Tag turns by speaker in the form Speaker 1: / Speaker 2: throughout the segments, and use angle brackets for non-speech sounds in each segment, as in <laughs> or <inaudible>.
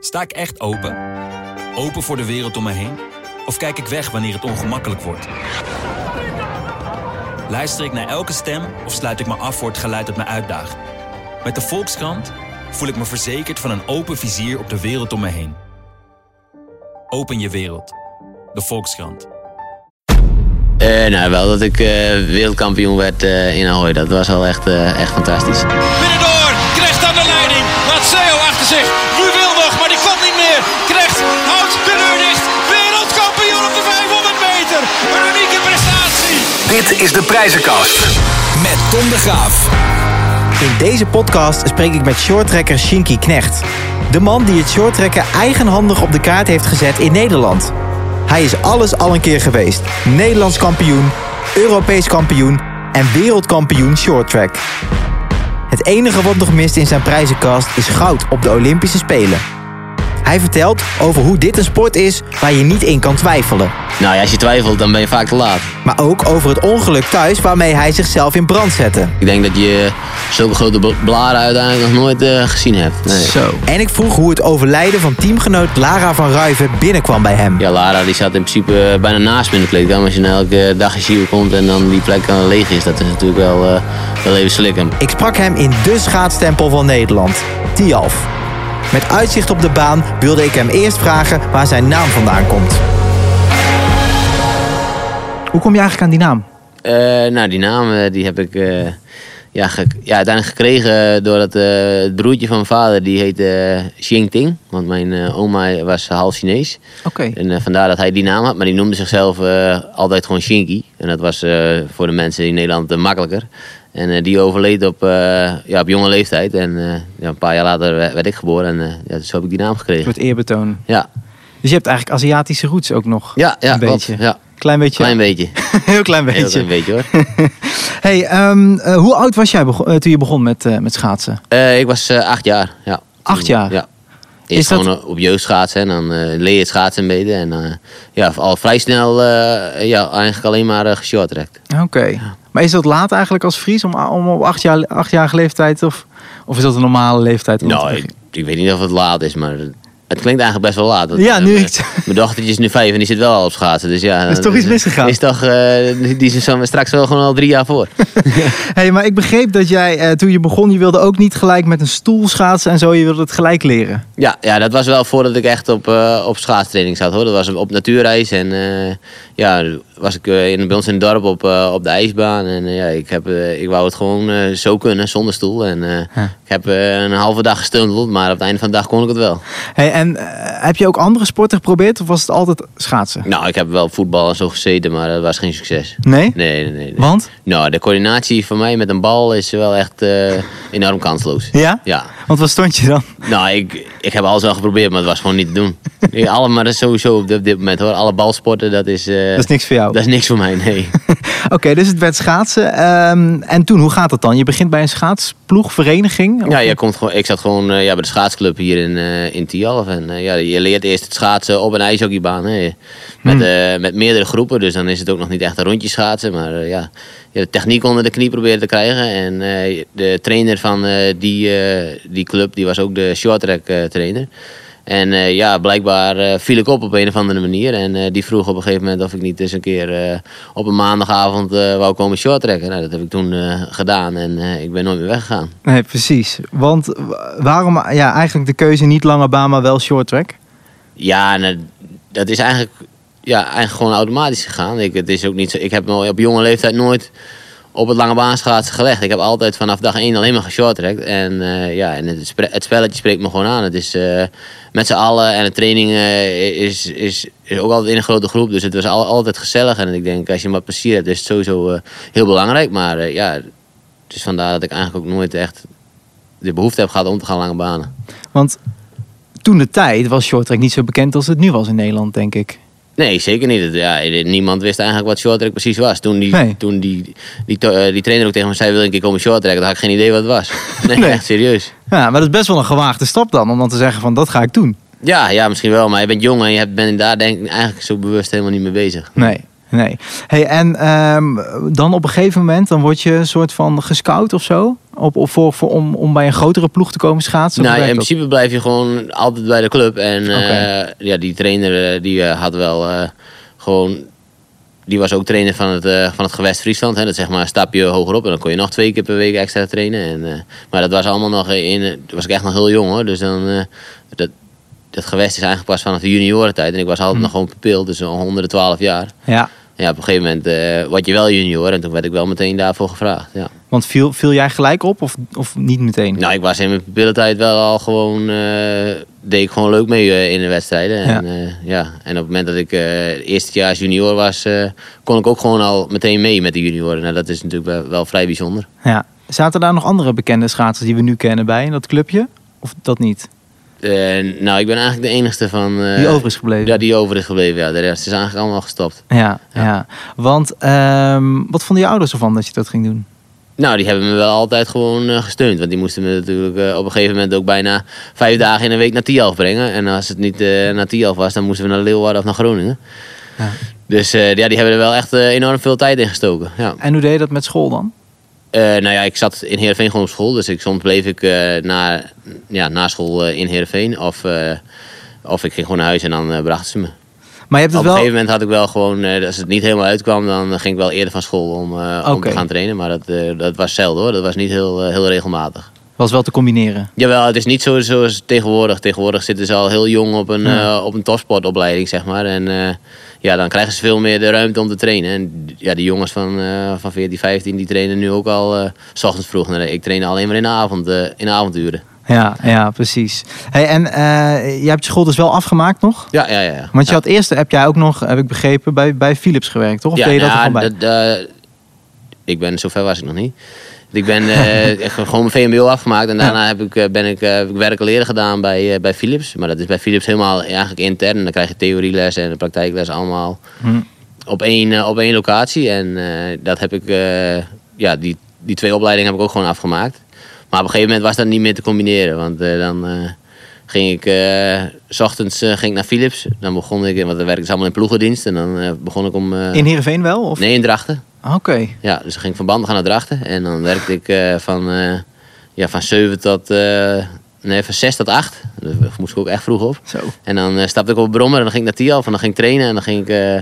Speaker 1: Sta ik echt open? Open voor de wereld om me heen? Of kijk ik weg wanneer het ongemakkelijk wordt? Luister ik naar elke stem of sluit ik me af voor het geluid dat me uitdaagt? Met de Volkskrant voel ik me verzekerd van een open vizier op de wereld om me heen. Open je wereld. De Volkskrant.
Speaker 2: Eh, nou, wel dat ik eh, wereldkampioen werd eh, in Ahoy. Dat was al echt, eh, echt fantastisch.
Speaker 3: Binnendoor, Krecht aan de leiding. Laat Seo achter zich. Nu wil nog, maar die komt niet meer. Krecht houdt de deur dicht. Wereldkampioen op de 500 meter. Een unieke prestatie.
Speaker 4: Dit is de prijzenkast.
Speaker 5: Met Tom de Graaf.
Speaker 6: In deze podcast spreek ik met shorttrekker Shinky Knecht. De man die het shorttrekken eigenhandig op de kaart heeft gezet in Nederland. Hij is alles al een keer geweest. Nederlands kampioen, Europees kampioen en wereldkampioen shorttrack. Het enige wat nog mist in zijn prijzenkast is goud op de Olympische Spelen. Hij vertelt over hoe dit een sport is waar je niet in kan twijfelen.
Speaker 2: Nou ja, als je twijfelt, dan ben je vaak te laat.
Speaker 6: Maar ook over het ongeluk thuis waarmee hij zichzelf in brand zette.
Speaker 2: Ik denk dat je zulke grote bl- blaren uiteindelijk nog nooit eh, gezien hebt. Nee.
Speaker 6: En ik vroeg hoe het overlijden van teamgenoot Lara van Ruiven binnenkwam bij hem.
Speaker 2: Ja, Lara die zat in principe eh, bijna naast me in de kleedkamer. Als je nou elke dag in Sio komt en dan die plek eh, leeg is, dat is natuurlijk wel, eh, wel even slikken.
Speaker 6: Ik sprak hem in de schaatstempel van Nederland, Tialf. Met uitzicht op de baan wilde ik hem eerst vragen waar zijn naam vandaan komt. Hoe kom je eigenlijk aan die naam?
Speaker 2: Eh, nou, die naam eh, die heb ik eh, ja, ge- ja, uiteindelijk gekregen door het, eh, het broertje van mijn vader. Die heette eh Xing Ting. Want mijn eh, oma was half Chinees.
Speaker 6: Oké.
Speaker 2: En eh, vandaar dat hij die naam had. Maar die noemde zichzelf eh, altijd gewoon Shinky. En dat was eh, voor de mensen in Nederland eh, makkelijker. En eh, die overleed op, eh, ja, op jonge leeftijd. En eh, ja, een paar jaar later we- werd ik geboren. En eh, ja, dus zo heb ik die naam
Speaker 7: Een
Speaker 2: gekregen.
Speaker 7: soort eerbetoon.
Speaker 2: Ja,
Speaker 7: Dus je hebt eigenlijk Aziatische roots ook nog.
Speaker 2: ja, ja
Speaker 7: een
Speaker 2: klopt.
Speaker 7: beetje.
Speaker 2: Ja.
Speaker 7: Klein beetje.
Speaker 2: Klein beetje.
Speaker 7: <laughs> Heel klein beetje.
Speaker 2: Heel klein beetje hoor.
Speaker 7: Hey, ehm, eh, hoe oud was jij bego- eh, toen je begon met, eh, met schaatsen?
Speaker 2: Eh, ik was eh, acht jaar. Ja.
Speaker 7: Acht jaar?
Speaker 2: Ja. Eerst
Speaker 7: Is dat-
Speaker 2: gewoon eh, op jeugd schaatsen en dan eh, leer je het schaatsen een beetje. En eh, ja, al vrij snel eh, ja, eigenlijk alleen maar uh, geshorttrekt.
Speaker 7: Oké. Maar is dat laat eigenlijk als Fries om, om op acht jaar, achtjarige leeftijd? Of, of is dat een normale leeftijd? om te
Speaker 2: Nou, ik,
Speaker 7: beginnen? <laughs>
Speaker 2: ik weet niet of het laat is, maar het klinkt eigenlijk best wel laat. Want,
Speaker 7: Ja,
Speaker 2: eh,
Speaker 7: nu
Speaker 2: mijn-
Speaker 7: <laughs> ik het-
Speaker 2: Mijn dochtertje is nu vijf en die zit wel al op schaatsen. Dus ja,
Speaker 7: is toch iets
Speaker 2: eh,
Speaker 7: misgegaan?
Speaker 2: Is toch, eh, die is zo- straks wel gewoon al drie jaar voor.
Speaker 7: hey, maar ik begreep dat jij eh, toen je begon, je wilde ook niet gelijk met een stoel schaatsen en zo. Je wilde het gelijk leren.
Speaker 2: Ja, ja, dat was wel voordat ik echt op, eh, op schaatstraining zat hoor. Dat was op natuurreis en eh, ja, was ik eh, in, bij ons in het dorp op, eh, op de ijsbaan. En eh, ja, ik, heb, eh, ik wou het gewoon eh, zo kunnen, zonder stoel. En eh, ik heb eh, een halve dag gestundeld, maar op het einde van de dag kon ik het wel.
Speaker 7: Hey, en eh, heb je ook andere sporten geprobeerd of was het altijd schaatsen?
Speaker 2: Nou, ik heb wel voetbal en zo gezeten, maar dat was geen succes.
Speaker 7: Nee?
Speaker 2: Nee, nee, nee. nee.
Speaker 7: Want?
Speaker 2: Nou, de coördinatie van mij met een bal is wel echt eh, enorm kansloos.
Speaker 7: Ja?
Speaker 2: Ja.
Speaker 7: Want wat stond je dan?
Speaker 2: Nou, ik, ik heb alles wel geprobeerd, maar het was gewoon niet te
Speaker 7: <laughs>
Speaker 2: doen. Ik, alle, maar dat is sowieso op dit, op dit moment hoor. Alle balsporten, dat is... eh,
Speaker 7: Dat is niks voor jou.
Speaker 2: Dat is niks voor mij, nee.
Speaker 7: <laughs> Oké, dus het werd schaatsen. Ehm, en toen, hoe gaat dat dan? Je begint bij een schaatsploeg, vereniging.
Speaker 2: ja, je komt gewoon, ik zat gewoon eh, ja, bij de schaatsclub hier in, eh in Tialf. En eh, ja, je leert eerst het schaatsen op een ijshockeybaan. Hè. Met, eh, met meerdere groepen, dus dan is het ook nog niet echt een rondje schaatsen. Maar eh, ja, je de techniek onder de knie proberen te krijgen. En eh, de trainer van eh, die, eh, die club, die was ook de shorttrack eh, trainer. En eh, ja, blijkbaar eh, viel ik op op een of andere manier. En eh, die vroeg op een gegeven moment of ik niet eens een keer eh, op een maandagavond eh, wou komen shorttrekken. Nou, dat heb ik toen eh, gedaan en eh, ik ben nooit meer weggegaan.
Speaker 7: Nee, precies. Want wa- waarom ja, eigenlijk de keuze niet lange baan, maar wel short track?
Speaker 2: Ja, nou, dat is eigenlijk, ja, eigenlijk gewoon automatisch gegaan. Ik, het is ook niet zo, ik heb me op jonge leeftijd nooit op het lange baanschaatsen gelegd. Ik heb altijd vanaf dag één alleen maar geshorttrekt. En, eh, ja, en het, spre- het spelletje spreekt me gewoon aan. Het is eh, met z'n allen en de training eh, is, is, is ook altijd in een grote groep. Dus het was al, altijd gezellig. En ik denk, als je maar plezier hebt, is het sowieso eh, heel belangrijk. Maar eh, ja, dus vandaar dat ik eigenlijk ook nooit echt de behoefte heb gehad om te gaan lange banen.
Speaker 7: Want toen de tijd was short track niet zo bekend als het nu was in Nederland, denk ik.
Speaker 2: Nee, zeker niet. Het- Ja, niemand wist eigenlijk wat shorttrack precies was. Toen, die,
Speaker 7: Nee.
Speaker 2: toen die, die, to- eh, die trainer ook tegen me zei, wil je een keer komen shorttracken? Dan had ik geen idee wat het was. Nee,
Speaker 7: Nee.
Speaker 2: echt serieus.
Speaker 7: Ja, maar dat is best wel een gewaagde stap dan, om dan te zeggen van dat ga ik doen.
Speaker 2: Ja, ja, misschien wel. Maar je bent jong en je hebt- bent daar denk ik eigenlijk zo bewust helemaal niet mee bezig.
Speaker 7: Nee, Nee. Hey, en ehm, dan op een gegeven moment, dan word je een soort van gescout of zo? Op, op, voor, voor, om, om bij een grotere ploeg te komen schaatsen?
Speaker 2: Nou,
Speaker 7: Hoe
Speaker 2: in
Speaker 7: werkt dat?
Speaker 2: principe blijf je gewoon altijd bij de club. En eh,
Speaker 7: Oké.
Speaker 2: ja, die trainer eh, die eh, had wel eh, gewoon. Die was ook trainer van het, eh, van het gewest Friesland. Hè. Dat is zeg maar een stapje hogerop. En dan kon je nog twee keer per week extra trainen. En, eh, maar dat was allemaal nog in. eh, Toen was ik echt nog heel jong hoor. Dus dan. eh, dat, dat gewest is eigenlijk pas vanaf de juniorentijd. En ik was altijd nog gewoon pupil, dus zo'n 112 jaar.
Speaker 7: Ja,
Speaker 2: Ja, op een gegeven moment eh word je wel junior. En toen werd ik wel meteen daarvoor gevraagd. Ja.
Speaker 7: want viel, viel jij gelijk op of, of niet meteen?
Speaker 2: Nou, ik was in mijn pupillentijd wel al gewoon... eh, deed ik gewoon leuk mee eh, in de wedstrijden. En, eh, ja. en op het moment dat ik eh het eerste jaar junior was... eh, kon ik ook gewoon al meteen mee met de junioren. Nou, dat is natuurlijk wel, wel vrij bijzonder.
Speaker 7: Ja. Zaten daar nog andere bekende schaatsers die we nu kennen bij in dat clubje? Of dat niet?
Speaker 2: Eh, nou, ik ben eigenlijk de enigste van... eh,
Speaker 7: Die over is gebleven.
Speaker 2: Ja, die over is gebleven. Ja, de rest is eigenlijk allemaal gestopt.
Speaker 7: Ja, ja. want ehm, wat vonden je ouders ervan dat je dat ging doen?
Speaker 2: Nou, die hebben me wel altijd gewoon eh, gesteund. Want die moesten me natuurlijk eh, op een gegeven moment ook bijna vijf dagen in een week naar Tialf brengen. En als het niet eh, naar Tialf was, dan moesten we naar Leeuwarden of naar Groningen. Dus eh, ja, die hebben er wel echt eh, enorm veel tijd in gestoken. Ja.
Speaker 7: En hoe deed je dat met school dan?
Speaker 2: Eh, nou ja, ik zat in Heerenveen gewoon op school. Dus ik, soms bleef ik eh, na, ja, na school eh, in Heerenveen. Of, eh, of ik ging gewoon naar huis en dan eh, brachten ze me.
Speaker 7: Maar je hebt
Speaker 2: Op een
Speaker 7: het wel...
Speaker 2: gegeven moment had ik wel gewoon, eh, als het niet helemaal uitkwam, dan ging ik wel eerder van school om, eh, om
Speaker 7: Oké.
Speaker 2: te gaan trainen. Maar dat, eh, dat was zelden hoor, dat was niet heel, eh, heel regelmatig.
Speaker 7: was wel te combineren.
Speaker 2: Jawel, het is niet zo zoals tegenwoordig. Tegenwoordig zitten ze al heel jong op een,
Speaker 7: Ja.
Speaker 2: eh, op een topsportopleiding, zeg maar. En eh, ja, dan krijgen ze veel meer de ruimte om te trainen. En ja, die jongens van, eh, van 14, 15, die trainen nu ook al eh, s ochtends vroeg. Nee, Ik train alleen maar in de, avond, eh, in de avonduren.
Speaker 7: Ja, ja, precies. Hey, en eh, jij hebt je school dus wel afgemaakt nog?
Speaker 2: Ja, ja, ja. ja.
Speaker 7: Want je
Speaker 2: Ja.
Speaker 7: had eerst, heb jij ook nog, heb ik begrepen, bij, bij Philips gewerkt, toch? Of deed je dat er
Speaker 2: nou,
Speaker 7: gewoon bij?
Speaker 2: dat, eh, ik ben, zover was ik nog niet. Ik ben eh, <laughs> echt gewoon mijn VMBO afgemaakt en daarna heb ik, eh, ben ik, eh, heb ik werken leren gedaan bij, eh, bij Philips. Maar dat is bij Philips helemaal eigenlijk intern. Dan krijg je theorieles en praktijkles allemaal
Speaker 7: Hm.
Speaker 2: op, één, eh, op één locatie. En eh, dat heb ik, eh, ja, die, die twee opleidingen heb ik ook gewoon afgemaakt. Maar op een gegeven moment was dat niet meer te combineren. Want eh, dan eh, ging ik, eh, s ochtends eh, ging ik naar Philips. Dan begon ik, want dan werkte ze allemaal in ploegendienst. En dan eh, begon ik om... eh,
Speaker 7: In Heerenveen wel? Of? Ah,
Speaker 2: Nee, in Drachten.
Speaker 7: Oké.
Speaker 2: Ja, dus ik ging van banden gaan naar Drachten. En dan werkte ik eh, van, eh, ja, van 7 tot... eh, nee, van 6 tot 8. Daar moest ik ook echt vroeg op.
Speaker 7: Zo.
Speaker 2: En dan eh, stapte ik op Brommer en dan ging ik naar Tialf. En dan ging ik trainen. En dan ging ik... eh,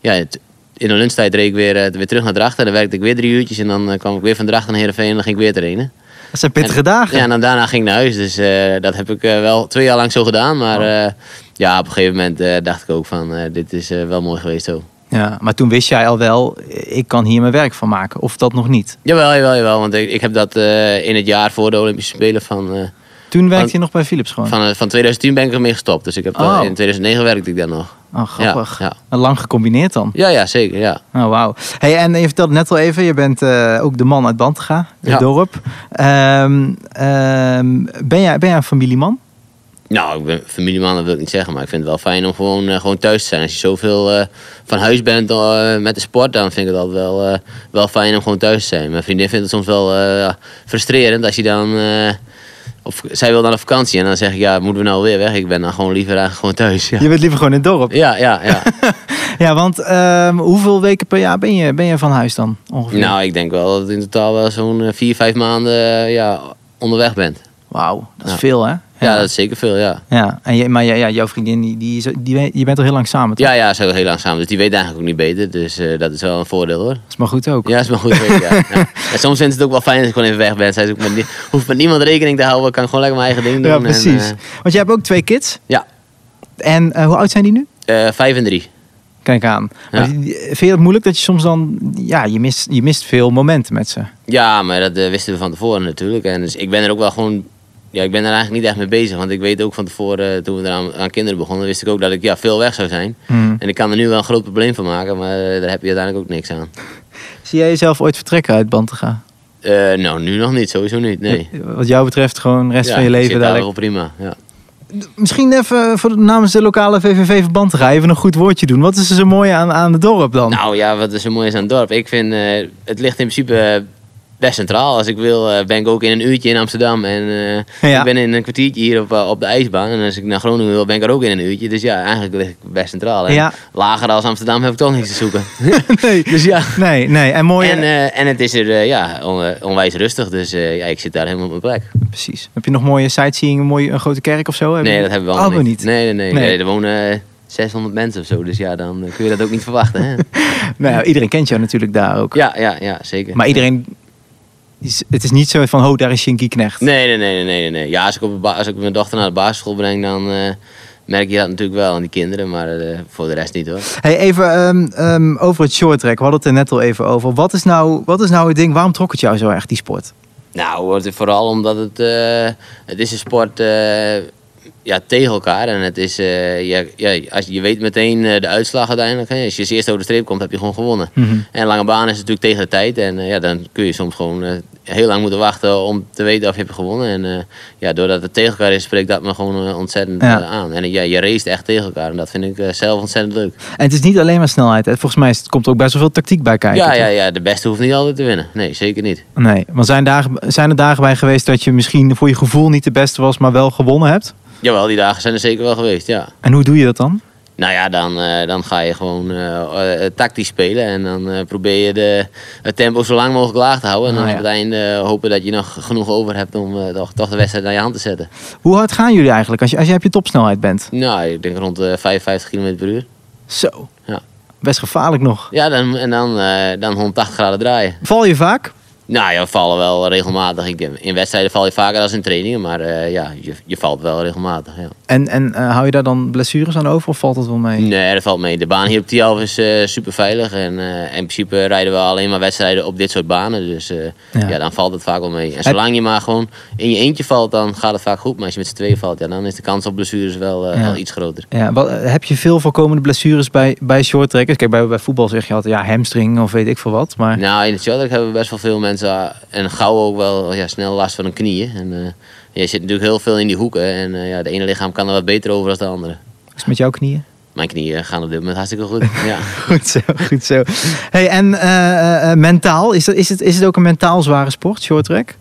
Speaker 2: ja, het- in de lunchtijd reed ik weer, eh, weer terug naar Drachten. En dan werkte ik weer drie uurtjes. En dan eh, kwam ik weer van Drachten naar Heerenveen. En dan ging ik weer trainen.
Speaker 7: Dat zijn pittige dagen.
Speaker 2: Ja, en dan daarna ging ik naar huis. Dus eh, dat heb ik eh, wel twee jaar lang zo gedaan. Maar
Speaker 7: Oh.
Speaker 2: eh, ja, op een gegeven moment eh, dacht ik ook van... eh, dit is eh, wel mooi geweest zo.
Speaker 7: Ja, maar toen wist jij al wel, ik kan hier mijn werk van maken. Of dat nog niet.
Speaker 2: Jawel, jawel, jawel. Want ik, ik heb dat eh, in het jaar voor de Olympische Spelen van, eh,
Speaker 7: Toen werkte
Speaker 2: Van-
Speaker 7: je nog bij Philips gewoon.
Speaker 2: van, eh, van 2010 ben ik ermee gestopt. Dus ik heb dat-
Speaker 7: Oh.
Speaker 2: in 2009 werkte ik daar nog.
Speaker 7: oh, grappig.
Speaker 2: Ja,
Speaker 7: Lang gecombineerd dan.
Speaker 2: ja, ja zeker. Ja.
Speaker 7: Oh, wauw. Hey, en je vertelde net al even, je bent eh, ook de man uit Bantega, het
Speaker 2: Ja.
Speaker 7: dorp. Ehm, ehm, ben, jij, ben jij een familieman?
Speaker 2: Nou, ik ben familieman, dat wil ik niet zeggen. Maar ik vind het wel fijn om gewoon, eh, gewoon thuis te zijn. Als je zoveel eh, van huis bent eh, met de sport, dan vind ik het altijd wel, eh, wel fijn om gewoon thuis te zijn. Mijn vriendin vindt het soms wel eh, frustrerend als je dan. eh, of, zij wil dan op vakantie en dan zeg ik, ja, moeten we nou weer weg? Ik ben dan gewoon liever eigenlijk gewoon thuis. Ja,
Speaker 7: Je bent liever gewoon in het dorp.
Speaker 2: ja, ja. ja.
Speaker 7: Ja, want ehm, hoeveel weken per jaar ben je, ben je van huis dan ongeveer?
Speaker 2: Nou, ik denk wel dat in totaal wel zo'n eh, vier, vijf maanden eh, ja, onderweg bent.
Speaker 7: Wauw, dat is
Speaker 2: Ja.
Speaker 7: veel hè?
Speaker 2: Ja, dat is zeker veel, ja.
Speaker 7: Ja, en je, maar ja, ja, jouw vriendin, die, die, is- die, je bent al heel lang samen toch?
Speaker 2: Ja, ja, ze zijn heel langzaam, dus die weet eigenlijk ook niet beter. Dus eh, dat is wel een voordeel hoor.
Speaker 7: Dat is maar goed ook.
Speaker 2: Ja, is maar goed.
Speaker 7: <laughs>
Speaker 2: weet ik, ja. Ja. En soms vindt ze het ook wel fijn als ik gewoon even weg ben. Zij is ook met nie- hoeft met niemand rekening te houden, kan gewoon lekker mijn eigen ding doen.
Speaker 7: Ja,
Speaker 2: en,
Speaker 7: precies.
Speaker 2: eh,
Speaker 7: Want jij hebt ook twee kids.
Speaker 2: ja,
Speaker 7: En eh, hoe oud zijn die nu?
Speaker 2: Eh, vijf en drie.
Speaker 7: Kijk aan. Maar
Speaker 2: Ja.
Speaker 7: die- die- vind je het moeilijk dat je soms dan... Ja, je mist, je mist veel momenten met ze.
Speaker 2: Ja, maar dat eh, wisten we van tevoren natuurlijk. En dus ik ben er ook wel gewoon. Ja, ik ben er eigenlijk niet echt mee bezig. Want ik weet ook van tevoren, eh, toen we eraan aan kinderen begonnen, wist ik ook dat ik ja, veel weg zou zijn.
Speaker 7: Hmm.
Speaker 2: En ik kan er nu wel een groot probleem van maken, maar eh, daar heb je uiteindelijk ook niks aan.
Speaker 7: Zie jij jezelf ooit vertrekken uit Bantega?
Speaker 2: Eh, nou, nu nog niet, sowieso niet. Nee.
Speaker 7: Wat jou betreft gewoon de rest
Speaker 2: Ja,
Speaker 7: van je
Speaker 2: ik
Speaker 7: leven
Speaker 2: zit daar
Speaker 7: dadelijk.
Speaker 2: wel prima. Ja.
Speaker 7: Misschien even eh, voor de, namens de lokale VVV van Bantega even een goed woordje doen. Wat is er zo mooi aan, aan het dorp dan?
Speaker 2: Nou ja, wat is er mooi is aan het dorp. Ik vind, eh, het ligt in principe eh, best centraal. Als ik wil, eh, ben ik ook in een uurtje in Amsterdam. En eh,
Speaker 7: Ja.
Speaker 2: ik ben in een kwartiertje hier op, eh, op de ijsbaan. En als ik naar Groningen wil, ben ik er ook in een uurtje. Dus ja, eigenlijk lig ik best centraal. En
Speaker 7: Ja.
Speaker 2: Lager als Amsterdam heb ik toch niks te <laughs> zoeken.
Speaker 7: <laughs> nee.
Speaker 2: dus ja.
Speaker 7: Nee, nee. En mooi.
Speaker 2: En, eh, en het is er eh, ja, on- onwijs rustig. Dus eh, ja, ik zit daar helemaal op mijn plek.
Speaker 7: Precies. Heb je nog mooie sightseeing, een mooie een grote kerk of zo? Heb
Speaker 2: Nee,
Speaker 7: je-
Speaker 2: dat hebben we allemaal
Speaker 7: Oh,
Speaker 2: niet. Nee, nee, nee,
Speaker 7: Nee.
Speaker 2: nee, Er wonen eh, 600 mensen of zo. Dus ja, dan eh, kun je dat ook niet verwachten. <laughs> Hè?
Speaker 7: <laughs> Nou, iedereen kent jou natuurlijk daar ook.
Speaker 2: Ja, ja, ja, zeker.
Speaker 7: Maar iedereen... is- Het is niet zo van, oh, daar is Shinky Knecht.
Speaker 2: Nee, nee, nee, nee, nee, nee. Ja, als ik, op de ba- als ik mijn dochter naar de basisschool breng, dan eh, merk je dat natuurlijk wel aan die kinderen. Maar eh, voor de rest niet hoor.
Speaker 7: Hey, even ehm, ehm, over het short track. We hadden het er net al even over. Wat is, nou, wat is nou het ding? Waarom trok het jou zo erg, die sport?
Speaker 2: Nou, wordt het vooral omdat het, eh, het is een sport eh, ja, tegen elkaar. En het is, eh, ja, ja, als je, je weet meteen eh, de uitslag uiteindelijk. Hè. Als je als eerste over de streep komt, heb je gewoon gewonnen. En lange baan is natuurlijk tegen de tijd. En eh, ja, dan kun je soms gewoon eh, heel lang moeten wachten om te weten of je hebt gewonnen. En eh, ja, doordat het tegen elkaar is, spreekt dat me gewoon eh, ontzettend
Speaker 7: Ja.
Speaker 2: eh, aan. En eh, ja, je race echt tegen elkaar. En dat vind ik eh, zelf ontzettend leuk.
Speaker 7: En het is niet alleen maar snelheid. hè? Volgens mij is- komt er ook best wel veel tactiek bij kijken.
Speaker 2: Ja,
Speaker 7: toch?
Speaker 2: ja, ja, de beste hoeft niet altijd te winnen. Nee, zeker niet.
Speaker 7: Nee, maar zijn, dagen, zijn er dagen bij geweest dat je misschien voor je gevoel niet de beste was, maar wel gewonnen hebt?
Speaker 2: Jawel, die dagen zijn er zeker wel geweest, ja.
Speaker 7: En hoe doe je dat dan?
Speaker 2: Nou ja, dan, eh, dan ga je gewoon eh, eh, tactisch spelen. En dan eh, probeer je de, het tempo zo lang mogelijk laag te houden. En dan
Speaker 7: Ah, ja.
Speaker 2: op het einde eh, hopen dat je nog genoeg over hebt om eh, toch, toch de wedstrijd naar je hand te zetten.
Speaker 7: Hoe hard gaan jullie eigenlijk als je, als je op je topsnelheid bent?
Speaker 2: Nou, ik denk rond de 55 km per uur.
Speaker 7: Zo.
Speaker 2: Ja.
Speaker 7: Best gevaarlijk nog.
Speaker 2: Ja, dan, en dan, eh, dan 180 graden draaien.
Speaker 7: Val je vaak?
Speaker 2: Nou ja, we vallen wel regelmatig. Ik, in wedstrijden val je vaker dan in trainingen. Maar eh, ja, je, je valt wel regelmatig. Ja.
Speaker 7: En, en eh, hou je daar dan blessures aan over of valt het wel mee?
Speaker 2: Nee, dat valt mee. De baan hier op Tialf is super veilig. En eh, in principe rijden we alleen maar wedstrijden op dit soort banen. Dus eh,
Speaker 7: Ja.
Speaker 2: ja. dan valt het vaak wel mee. En zolang je maar gewoon in je eentje valt, dan gaat het vaak goed. Maar als je met z'n tweeën valt, ja, dan is de kans op blessures wel, eh,
Speaker 7: Ja.
Speaker 2: wel iets groter.
Speaker 7: Ja, wat, heb je veel voorkomende blessures bij, bij shorttrackers? Kijk, bij, bij voetbal zeg je altijd ja, hamstring of weet ik veel wat. Maar
Speaker 2: Nou, in het shottrack hebben we best wel veel mensen eh, en gauw ook wel ja, snel last van hun knieën. En, eh, je zit natuurlijk heel veel in die hoeken. En eh, ja, de ene lichaam kan er wat beter over dan de andere.
Speaker 7: is het met jouw knieën? <laughs>
Speaker 2: Mijn knieën gaan op dit moment hartstikke goed. Ja. <laughs>
Speaker 7: Goed zo, goed zo. Hey, en eh, eh, eh, mentaal, is, dat, is, het, is het ook een mentaal zware sport, shorttrack?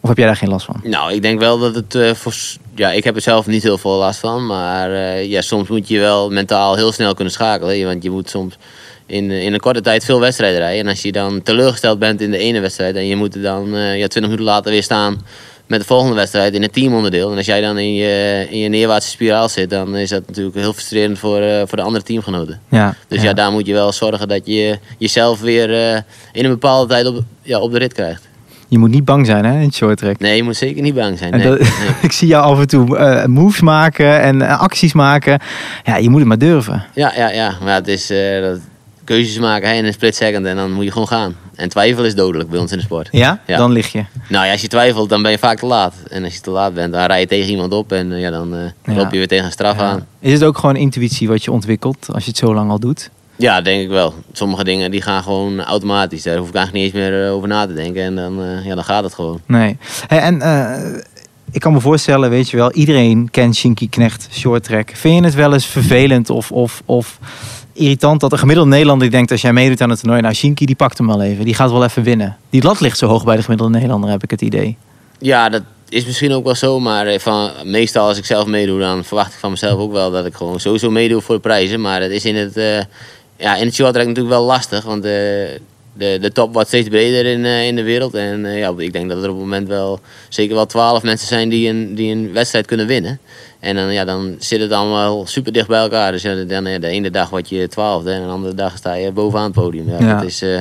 Speaker 7: Of heb jij daar geen last van?
Speaker 2: Nou, ik denk wel dat het eh, voor. s- Ja, ik heb er zelf niet heel veel last van. Maar eh, ja, soms moet je wel mentaal heel snel kunnen schakelen. hè, Want je moet soms in, eh, in een korte tijd veel wedstrijden rijden. En als je dan teleurgesteld bent in de ene wedstrijd. en je moet er dan eh, ja, 20 minuten later weer staan. met de volgende wedstrijd in het teamonderdeel. En als jij dan in je, in je neerwaartse spiraal zit. dan is dat natuurlijk heel frustrerend voor, eh, voor de andere teamgenoten.
Speaker 7: Ja,
Speaker 2: Dus ja. daar moet je wel zorgen dat je jezelf weer eh, in een bepaalde tijd op, ja, op de rit krijgt.
Speaker 7: Je moet niet bang zijn hè, in het shorttrack.
Speaker 2: Nee, je moet zeker niet bang zijn.
Speaker 7: En
Speaker 2: Nee.
Speaker 7: dat- <laughs> ik zie jou af en toe eh, moves maken en eh, acties maken. Ja, je moet het maar durven.
Speaker 2: Ja, ja, ja. Maar het is eh, dat keuzes maken hè, in een split second en dan moet je gewoon gaan. En twijfel is dodelijk bij ons in de sport.
Speaker 7: Ja?
Speaker 2: Ja.
Speaker 7: Dan lig je.
Speaker 2: Nou ja, als je twijfelt, dan ben je vaak te laat. En als je te laat bent, dan rij je tegen iemand op en eh, ja, dan eh
Speaker 7: Ja.
Speaker 2: loop je weer tegen een straf aan.
Speaker 7: Is het ook gewoon intuïtie wat je ontwikkelt als je het zo lang al doet?
Speaker 2: Ja, denk ik wel. Sommige dingen die gaan gewoon automatisch. Daar hoef ik eigenlijk niet eens meer eh, over na te denken. En dan, eh, ja, dan gaat het gewoon.
Speaker 7: Nee. Hey, en eh, ik kan me voorstellen, weet je wel, iedereen kent Shinky Knecht Short Track. Vind je het wel eens vervelend of, of, of irritant dat een gemiddelde Nederlander denkt als jij meedoet aan het toernooi, nou Shinky die pakt hem wel even, die gaat wel even winnen. Die lat ligt zo hoog bij de gemiddelde Nederlander, heb ik het idee.
Speaker 2: Ja, dat is misschien ook wel zo, maar eh, van, meestal als ik zelf meedoe, dan verwacht ik van mezelf ook wel dat ik gewoon sowieso meedoe voor de prijzen. Maar dat is in het, eh ja, in het shorttrack natuurlijk wel lastig, want eh, de, de top wordt steeds breder in, eh, in de wereld. En eh, ja, ik denk dat er op het moment wel zeker wel twaalf mensen zijn die een, die een wedstrijd kunnen winnen. En dan, ja, dan zit het allemaal super dicht bij elkaar. Dus ja, dan, eh, de ene dag word je twaalfde en de andere dag sta je bovenaan het podium. Ja,
Speaker 7: Ja.
Speaker 2: Dat is eh,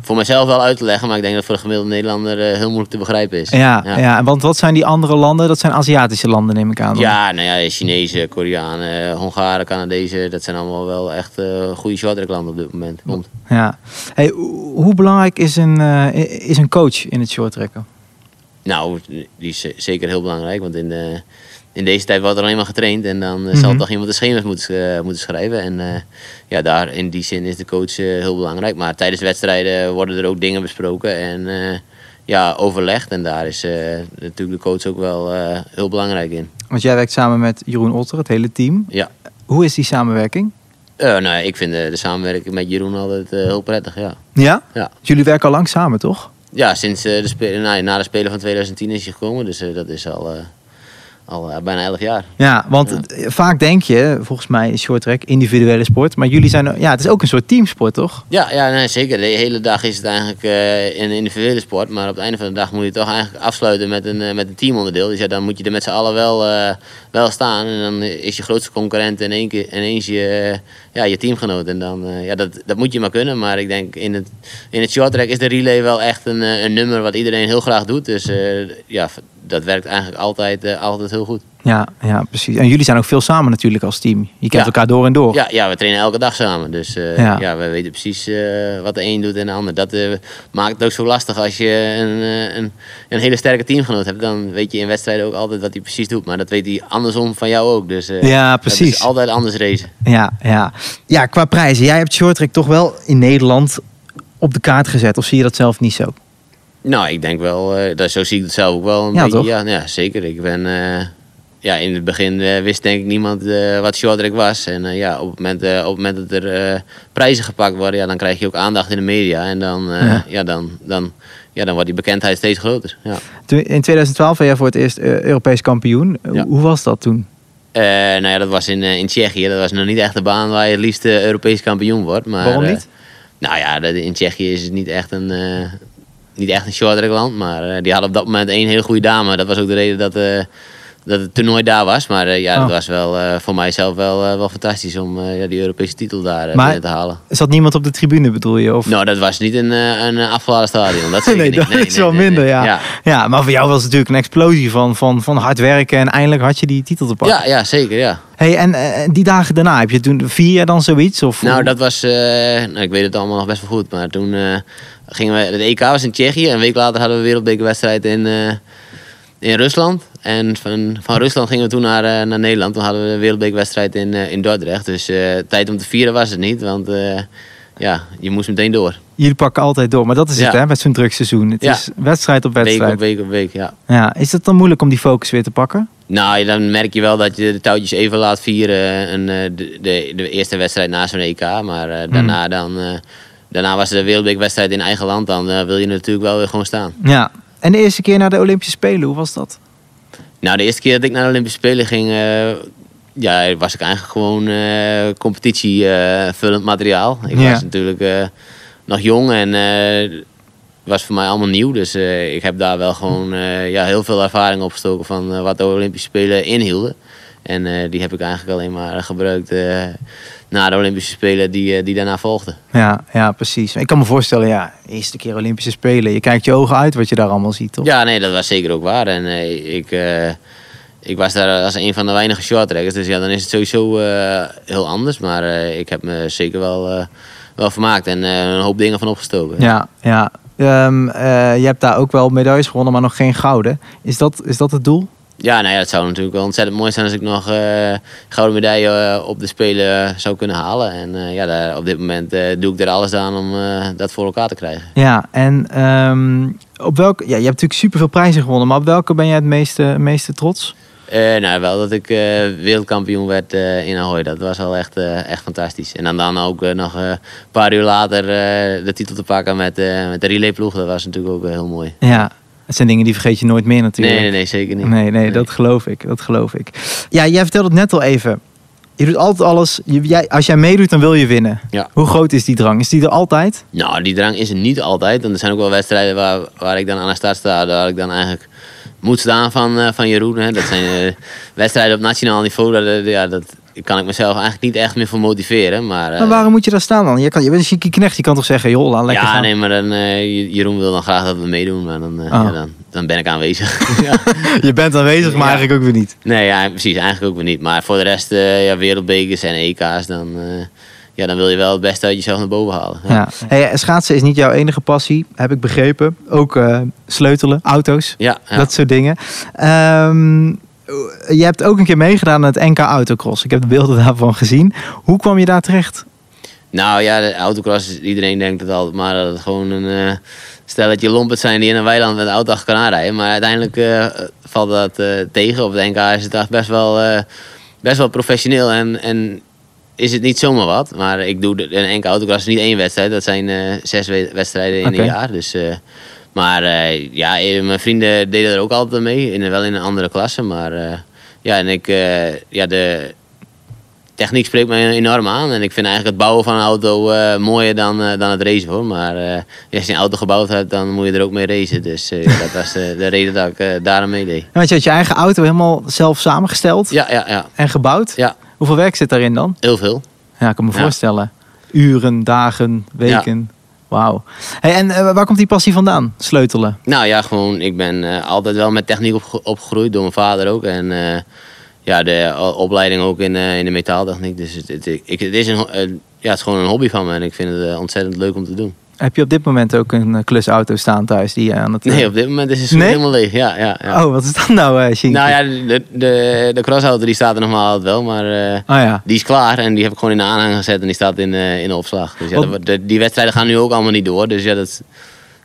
Speaker 2: voor mezelf wel uit te leggen, maar ik denk dat voor de gemiddelde Nederlander eh, heel moeilijk te begrijpen is.
Speaker 7: Ja, ja. want wat zijn die andere landen? Dat zijn Aziatische landen, neem ik aan. dan.
Speaker 2: Ja, nou ja, Chinezen, Koreanen, eh, Hongaren, Canadezen, dat zijn allemaal wel echt eh, goede shorttracklanden op dit moment. Want,
Speaker 7: ja. Hey, hoe hoe belangrijk is een, eh, is een coach in het short tracken?
Speaker 2: nou, die is eh, zeker heel belangrijk, want in, eh, in deze tijd wordt er alleen maar getraind en dan eh, zal toch iemand de schema's moeten, eh, moeten schrijven. En eh, ja, daar in die zin is de coach eh, heel belangrijk. Maar tijdens wedstrijden worden er ook dingen besproken en eh, ja, overlegd. En daar is eh, natuurlijk de coach ook wel eh, heel belangrijk in.
Speaker 7: Want jij werkt samen met Jeroen Otter, het hele team.
Speaker 2: Ja.
Speaker 7: Hoe is die samenwerking?
Speaker 2: Eh, nou, ik vind eh, de samenwerking met Jeroen altijd eh, heel prettig, ja.
Speaker 7: Ja?
Speaker 2: Ja.
Speaker 7: Jullie werken al lang samen, toch?
Speaker 2: Ja, sinds eh, de spe- na, na de Spelen van 2010 is hij gekomen. Dus eh, dat is al, eh, al eh, bijna 11 jaar.
Speaker 7: Ja, want
Speaker 2: Ja.
Speaker 7: het- vaak denk je, volgens mij is short track individuele sport. Maar jullie zijn, ja, het is ook een soort teamsport, toch?
Speaker 2: Ja, ja nee, zeker. De hele dag is het eigenlijk eh, een individuele sport. Maar op het einde van de dag moet je toch eigenlijk afsluiten met een, eh, met een teamonderdeel. Dus ja, dan moet je er met z'n allen wel, eh, wel staan. En dan is je grootste concurrent in één keer, ineens je, eh, ja, je teamgenoot. En dan, eh, ja, dat, dat moet je maar kunnen. Maar ik denk in het, in het short track is de relay wel echt een, eh, een nummer wat iedereen heel graag doet. Dus eh, ja, dat werkt eigenlijk altijd, eh, altijd heel goed.
Speaker 7: Ja, ja, precies. En jullie zijn ook veel samen natuurlijk als team. Je kent
Speaker 2: Ja.
Speaker 7: elkaar door en door.
Speaker 2: Ja, ja, we trainen elke dag samen. Dus eh,
Speaker 7: Ja.
Speaker 2: ja. we weten precies eh, wat de een doet en de ander. Dat eh, maakt het ook zo lastig als je een, eh, een, een hele sterke teamgenoot hebt. Dan weet je in wedstrijden ook altijd wat hij precies doet. Maar dat weet hij andersom van jou ook. Dus eh,
Speaker 7: Ja,
Speaker 2: dat
Speaker 7: precies.
Speaker 2: is altijd anders racen.
Speaker 7: Ja, ja. ja, qua prijzen. Jij hebt short track toch wel in Nederland op de kaart gezet. Of zie je dat zelf niet zo?
Speaker 2: Nou, ik denk wel, eh, dat, zo zie ik het zelf ook wel. Een
Speaker 7: Ja,
Speaker 2: beetje,
Speaker 7: toch?
Speaker 2: Ja, ja, zeker. Ik ben, eh, ja, in het begin eh, wist denk ik niemand eh, wat shorttrack was. En eh, ja, op het, moment, eh, op het moment dat er eh, prijzen gepakt worden, ja, dan krijg je ook aandacht in de media. En dan, eh,
Speaker 7: Ja.
Speaker 2: ja. dan, dan, ja, dan wordt die bekendheid steeds groter. Ja.
Speaker 7: Toen- In 2012 ben jij voor het eerst eh, Europees kampioen. Eh,
Speaker 2: Ja.
Speaker 7: Hoe was dat toen?
Speaker 2: Eh, nou ja, dat was in, eh, in Tsjechië. Dat was nog niet echt de baan waar je het liefst eh, Europees kampioen wordt. Maar,
Speaker 7: Waarom
Speaker 2: eh,
Speaker 7: niet?
Speaker 2: nou ja, dat- in Tsjechië is het niet echt een, eh niet echt een shorttrackland. Maar eh, die hadden op dat moment één hele goede dame. Dat was ook de reden dat, eh, dat het toernooi daar was. Maar eh, ja,
Speaker 7: Oh.
Speaker 2: dat was wel eh, voor mijzelf wel, eh, wel fantastisch om eh, ja, die Europese titel daar eh,
Speaker 7: Maar-
Speaker 2: binnen te halen.
Speaker 7: Zat niemand op de tribune bedoel je? Of?
Speaker 2: Nou, dat was niet een, eh, een afgeladen stadion. Dat zeker
Speaker 7: <laughs> nee,
Speaker 2: niet.
Speaker 7: dat is wel
Speaker 2: nee,
Speaker 7: minder,
Speaker 2: nee.
Speaker 7: ja. ja.
Speaker 2: ja.
Speaker 7: maar voor jou was het natuurlijk een explosie van, van, van hard werken. En eindelijk had je die titel te pakken.
Speaker 2: Ja, ja, zeker, ja.
Speaker 7: Hey, en eh, die dagen daarna, heb je toen vier jaar dan zoiets? Of,
Speaker 2: Nou, dat was. eh, nou, ik weet het allemaal nog best wel goed. Maar toen eh, gingen we. Het EK was in Tsjechië. Een week later hadden we wereldbekerwedstrijd in, eh, in Rusland. En van, van Rusland gingen we toen naar, eh, naar Nederland. Toen hadden we een wereldbekerwedstrijd in, eh, in Dordrecht. Dus eh, tijd om te vieren was het niet. Want eh, ja, je moest meteen door.
Speaker 7: Jullie pakken altijd door. Maar dat is het,
Speaker 2: Ja.
Speaker 7: hè, met zo'n druk seizoen. Het
Speaker 2: Ja.
Speaker 7: is wedstrijd op
Speaker 2: Week op
Speaker 7: wedstrijd.
Speaker 2: week op week, ja.
Speaker 7: Ja, is het dan moeilijk om die focus weer te pakken?
Speaker 2: Nou, ja, dan merk je wel dat je de touwtjes even laat vieren. En, eh, de, de, de eerste wedstrijd na zo'n EK. Maar eh, daarna, dan, eh, daarna was de wereldbekerwedstrijd in eigen land. Dan eh, wil je natuurlijk wel weer gewoon staan.
Speaker 7: Ja. En de eerste keer naar de Olympische Spelen, hoe was dat?
Speaker 2: Nou, de eerste keer dat ik naar de Olympische Spelen ging, eh, ja, was ik eigenlijk gewoon eh competitievullend materiaal. Ik
Speaker 7: Ja.
Speaker 2: was natuurlijk eh, nog jong en eh, was voor mij allemaal nieuw. Dus eh, ik heb daar wel gewoon eh, ja, heel veel ervaring opgestoken van eh, wat de Olympische Spelen inhielden. En eh, die heb ik eigenlijk alleen maar gebruikt eh, na de Olympische Spelen die, eh, die daarna volgden.
Speaker 7: Ja, ja, precies. Ik kan me voorstellen, ja, eerste keer Olympische Spelen. Je kijkt je ogen uit wat je daar allemaal ziet, toch?
Speaker 2: Ja, nee, dat was zeker ook waar. En eh, ik, eh, ik was daar als een van de weinige shorttrackers. Dus ja, dan is het sowieso eh, heel anders. Maar eh, ik heb me zeker wel, eh, wel vermaakt en eh, een hoop dingen van opgestoken.
Speaker 7: ja. ja. Ehm, eh, je hebt daar ook wel medailles gewonnen, maar nog geen gouden. Is dat, is dat het doel?
Speaker 2: Ja, nou ja, het zou natuurlijk wel ontzettend mooi zijn als ik nog eh, gouden medaille eh, op de Spelen eh, zou kunnen halen. En eh, ja, daar, op dit moment eh, doe ik er alles aan om eh, dat voor elkaar te krijgen.
Speaker 7: Ja, en ehm, op welke, ja, je hebt natuurlijk superveel prijzen gewonnen, maar op welke ben jij het meeste, meeste trots?
Speaker 2: Eh, nou, wel dat ik eh, wereldkampioen werd eh, in Ahoy. Dat was wel echt, eh, echt fantastisch. En dan, dan ook eh, nog eh, een paar uur later eh, de titel te pakken met, eh, met de relayploeg. Dat was natuurlijk ook eh, heel mooi.
Speaker 7: Ja, het zijn dingen die vergeet je nooit meer natuurlijk.
Speaker 2: Nee, nee, nee, zeker niet.
Speaker 7: Nee, nee, dat geloof ik. Dat geloof ik. Ja, jij vertelde het net al even. Je doet altijd alles. Je- jij, als jij meedoet, dan wil je winnen.
Speaker 2: Ja.
Speaker 7: Hoe groot is die drang? Is die er altijd?
Speaker 2: Nou, die drang is er niet altijd. Want er zijn ook wel wedstrijden waar, waar ik dan aan de start sta. Waar ik dan eigenlijk moet staan van, eh, van Jeroen. Hè. Dat zijn eh, wedstrijden op nationaal niveau. Dat, eh, ja, dat kan ik mezelf eigenlijk niet echt meer voor motiveren. Maar, eh,
Speaker 7: maar waarom moet je daar staan dan? Je, kan, je bent een chique knecht. Je kan toch zeggen, joh, laat lekker
Speaker 2: ja,
Speaker 7: gaan.
Speaker 2: nee, maar dan, eh, Jeroen wil dan graag dat we meedoen, maar dan, eh,
Speaker 7: Oh.
Speaker 2: ja, dan, dan ben ik
Speaker 7: <laughs>
Speaker 2: aanwezig. <laughs> ja.
Speaker 7: <laughs> Je bent aanwezig, maar
Speaker 2: Ja.
Speaker 7: eigenlijk ook weer niet.
Speaker 2: Nee, ja, precies, eigenlijk ook weer niet. Maar voor de rest, eh, ja, wereldbekers en EK's, dan, eh, ja, dan wil je wel het beste uit jezelf naar boven halen. Ja,
Speaker 7: Ja. Hey, eh, schaatsen is niet jouw enige passie, heb ik begrepen. Ook eh, sleutelen, auto's,
Speaker 2: ja, ja.
Speaker 7: dat soort dingen. Ehm, je hebt ook een keer meegedaan aan het NK Autocross. Ik heb de beelden daarvan gezien. Hoe kwam je daar terecht?
Speaker 2: Nou ja, de autocross, iedereen denkt het altijd maar dat het gewoon een eh, stelletje lompet zijn die in een weiland met een auto achter elkaar rijden. Maar uiteindelijk eh, valt dat eh, tegen. Op het NK is het echt best wel, eh, best wel professioneel en, en is het niet zomaar wat. Maar ik doe de- een enkele autocross niet één wedstrijd. Dat zijn eh, zes we- wedstrijden in
Speaker 7: Oké.
Speaker 2: een jaar. Dus, eh, maar eh, ja, eh, mijn vrienden deden er ook altijd mee. In, wel in een andere klasse. Maar eh, ja, en ik, eh, ja, de techniek spreekt me enorm aan. En ik vind eigenlijk het bouwen van een auto eh, mooier dan, eh, dan het racen hoor. Maar eh, als je een auto gebouwd hebt, dan moet je er ook mee racen. Dus eh, ja, dat was de, de reden dat ik eh, daarom meedeed.
Speaker 7: En want je had je eigen auto helemaal zelf samengesteld
Speaker 2: Ja, ja, ja.
Speaker 7: en gebouwd.
Speaker 2: Ja,
Speaker 7: Hoeveel werk zit daarin dan?
Speaker 2: heel veel.
Speaker 7: Ja, ik kan me
Speaker 2: Ja.
Speaker 7: voorstellen. Uren, dagen, weken. Wauw. Hey, en eh, waar komt die passie vandaan? Sleutelen.
Speaker 2: Nou ja, gewoon, ik ben eh, altijd wel met techniek opge- opgegroeid, door mijn vader ook. En eh, ja, de o- opleiding ook in, eh, in de metaaltechniek. Dus het, het, ik, het, is een, ho- eh, ja, het is gewoon een hobby van me en ik vind het eh, ontzettend leuk om te doen.
Speaker 7: Heb je op dit moment ook een eh, klusauto staan thuis die je aan het... eh,
Speaker 2: Nee, op dit moment is het schoen
Speaker 7: Nee?
Speaker 2: helemaal leeg. Ja, ja, ja.
Speaker 7: Oh, wat is dat nou, eh Shinky?
Speaker 2: Nou ja, de, de, de crossauto die staat er nog maar altijd wel, maar eh,
Speaker 7: Oh ja.
Speaker 2: die is klaar en die heb ik gewoon in de aanhang gezet en die staat in, eh, in de opslag. Dus ja,
Speaker 7: Wat-
Speaker 2: dat wordt- de- die wedstrijden gaan nu ook allemaal niet door, dus ja, dat,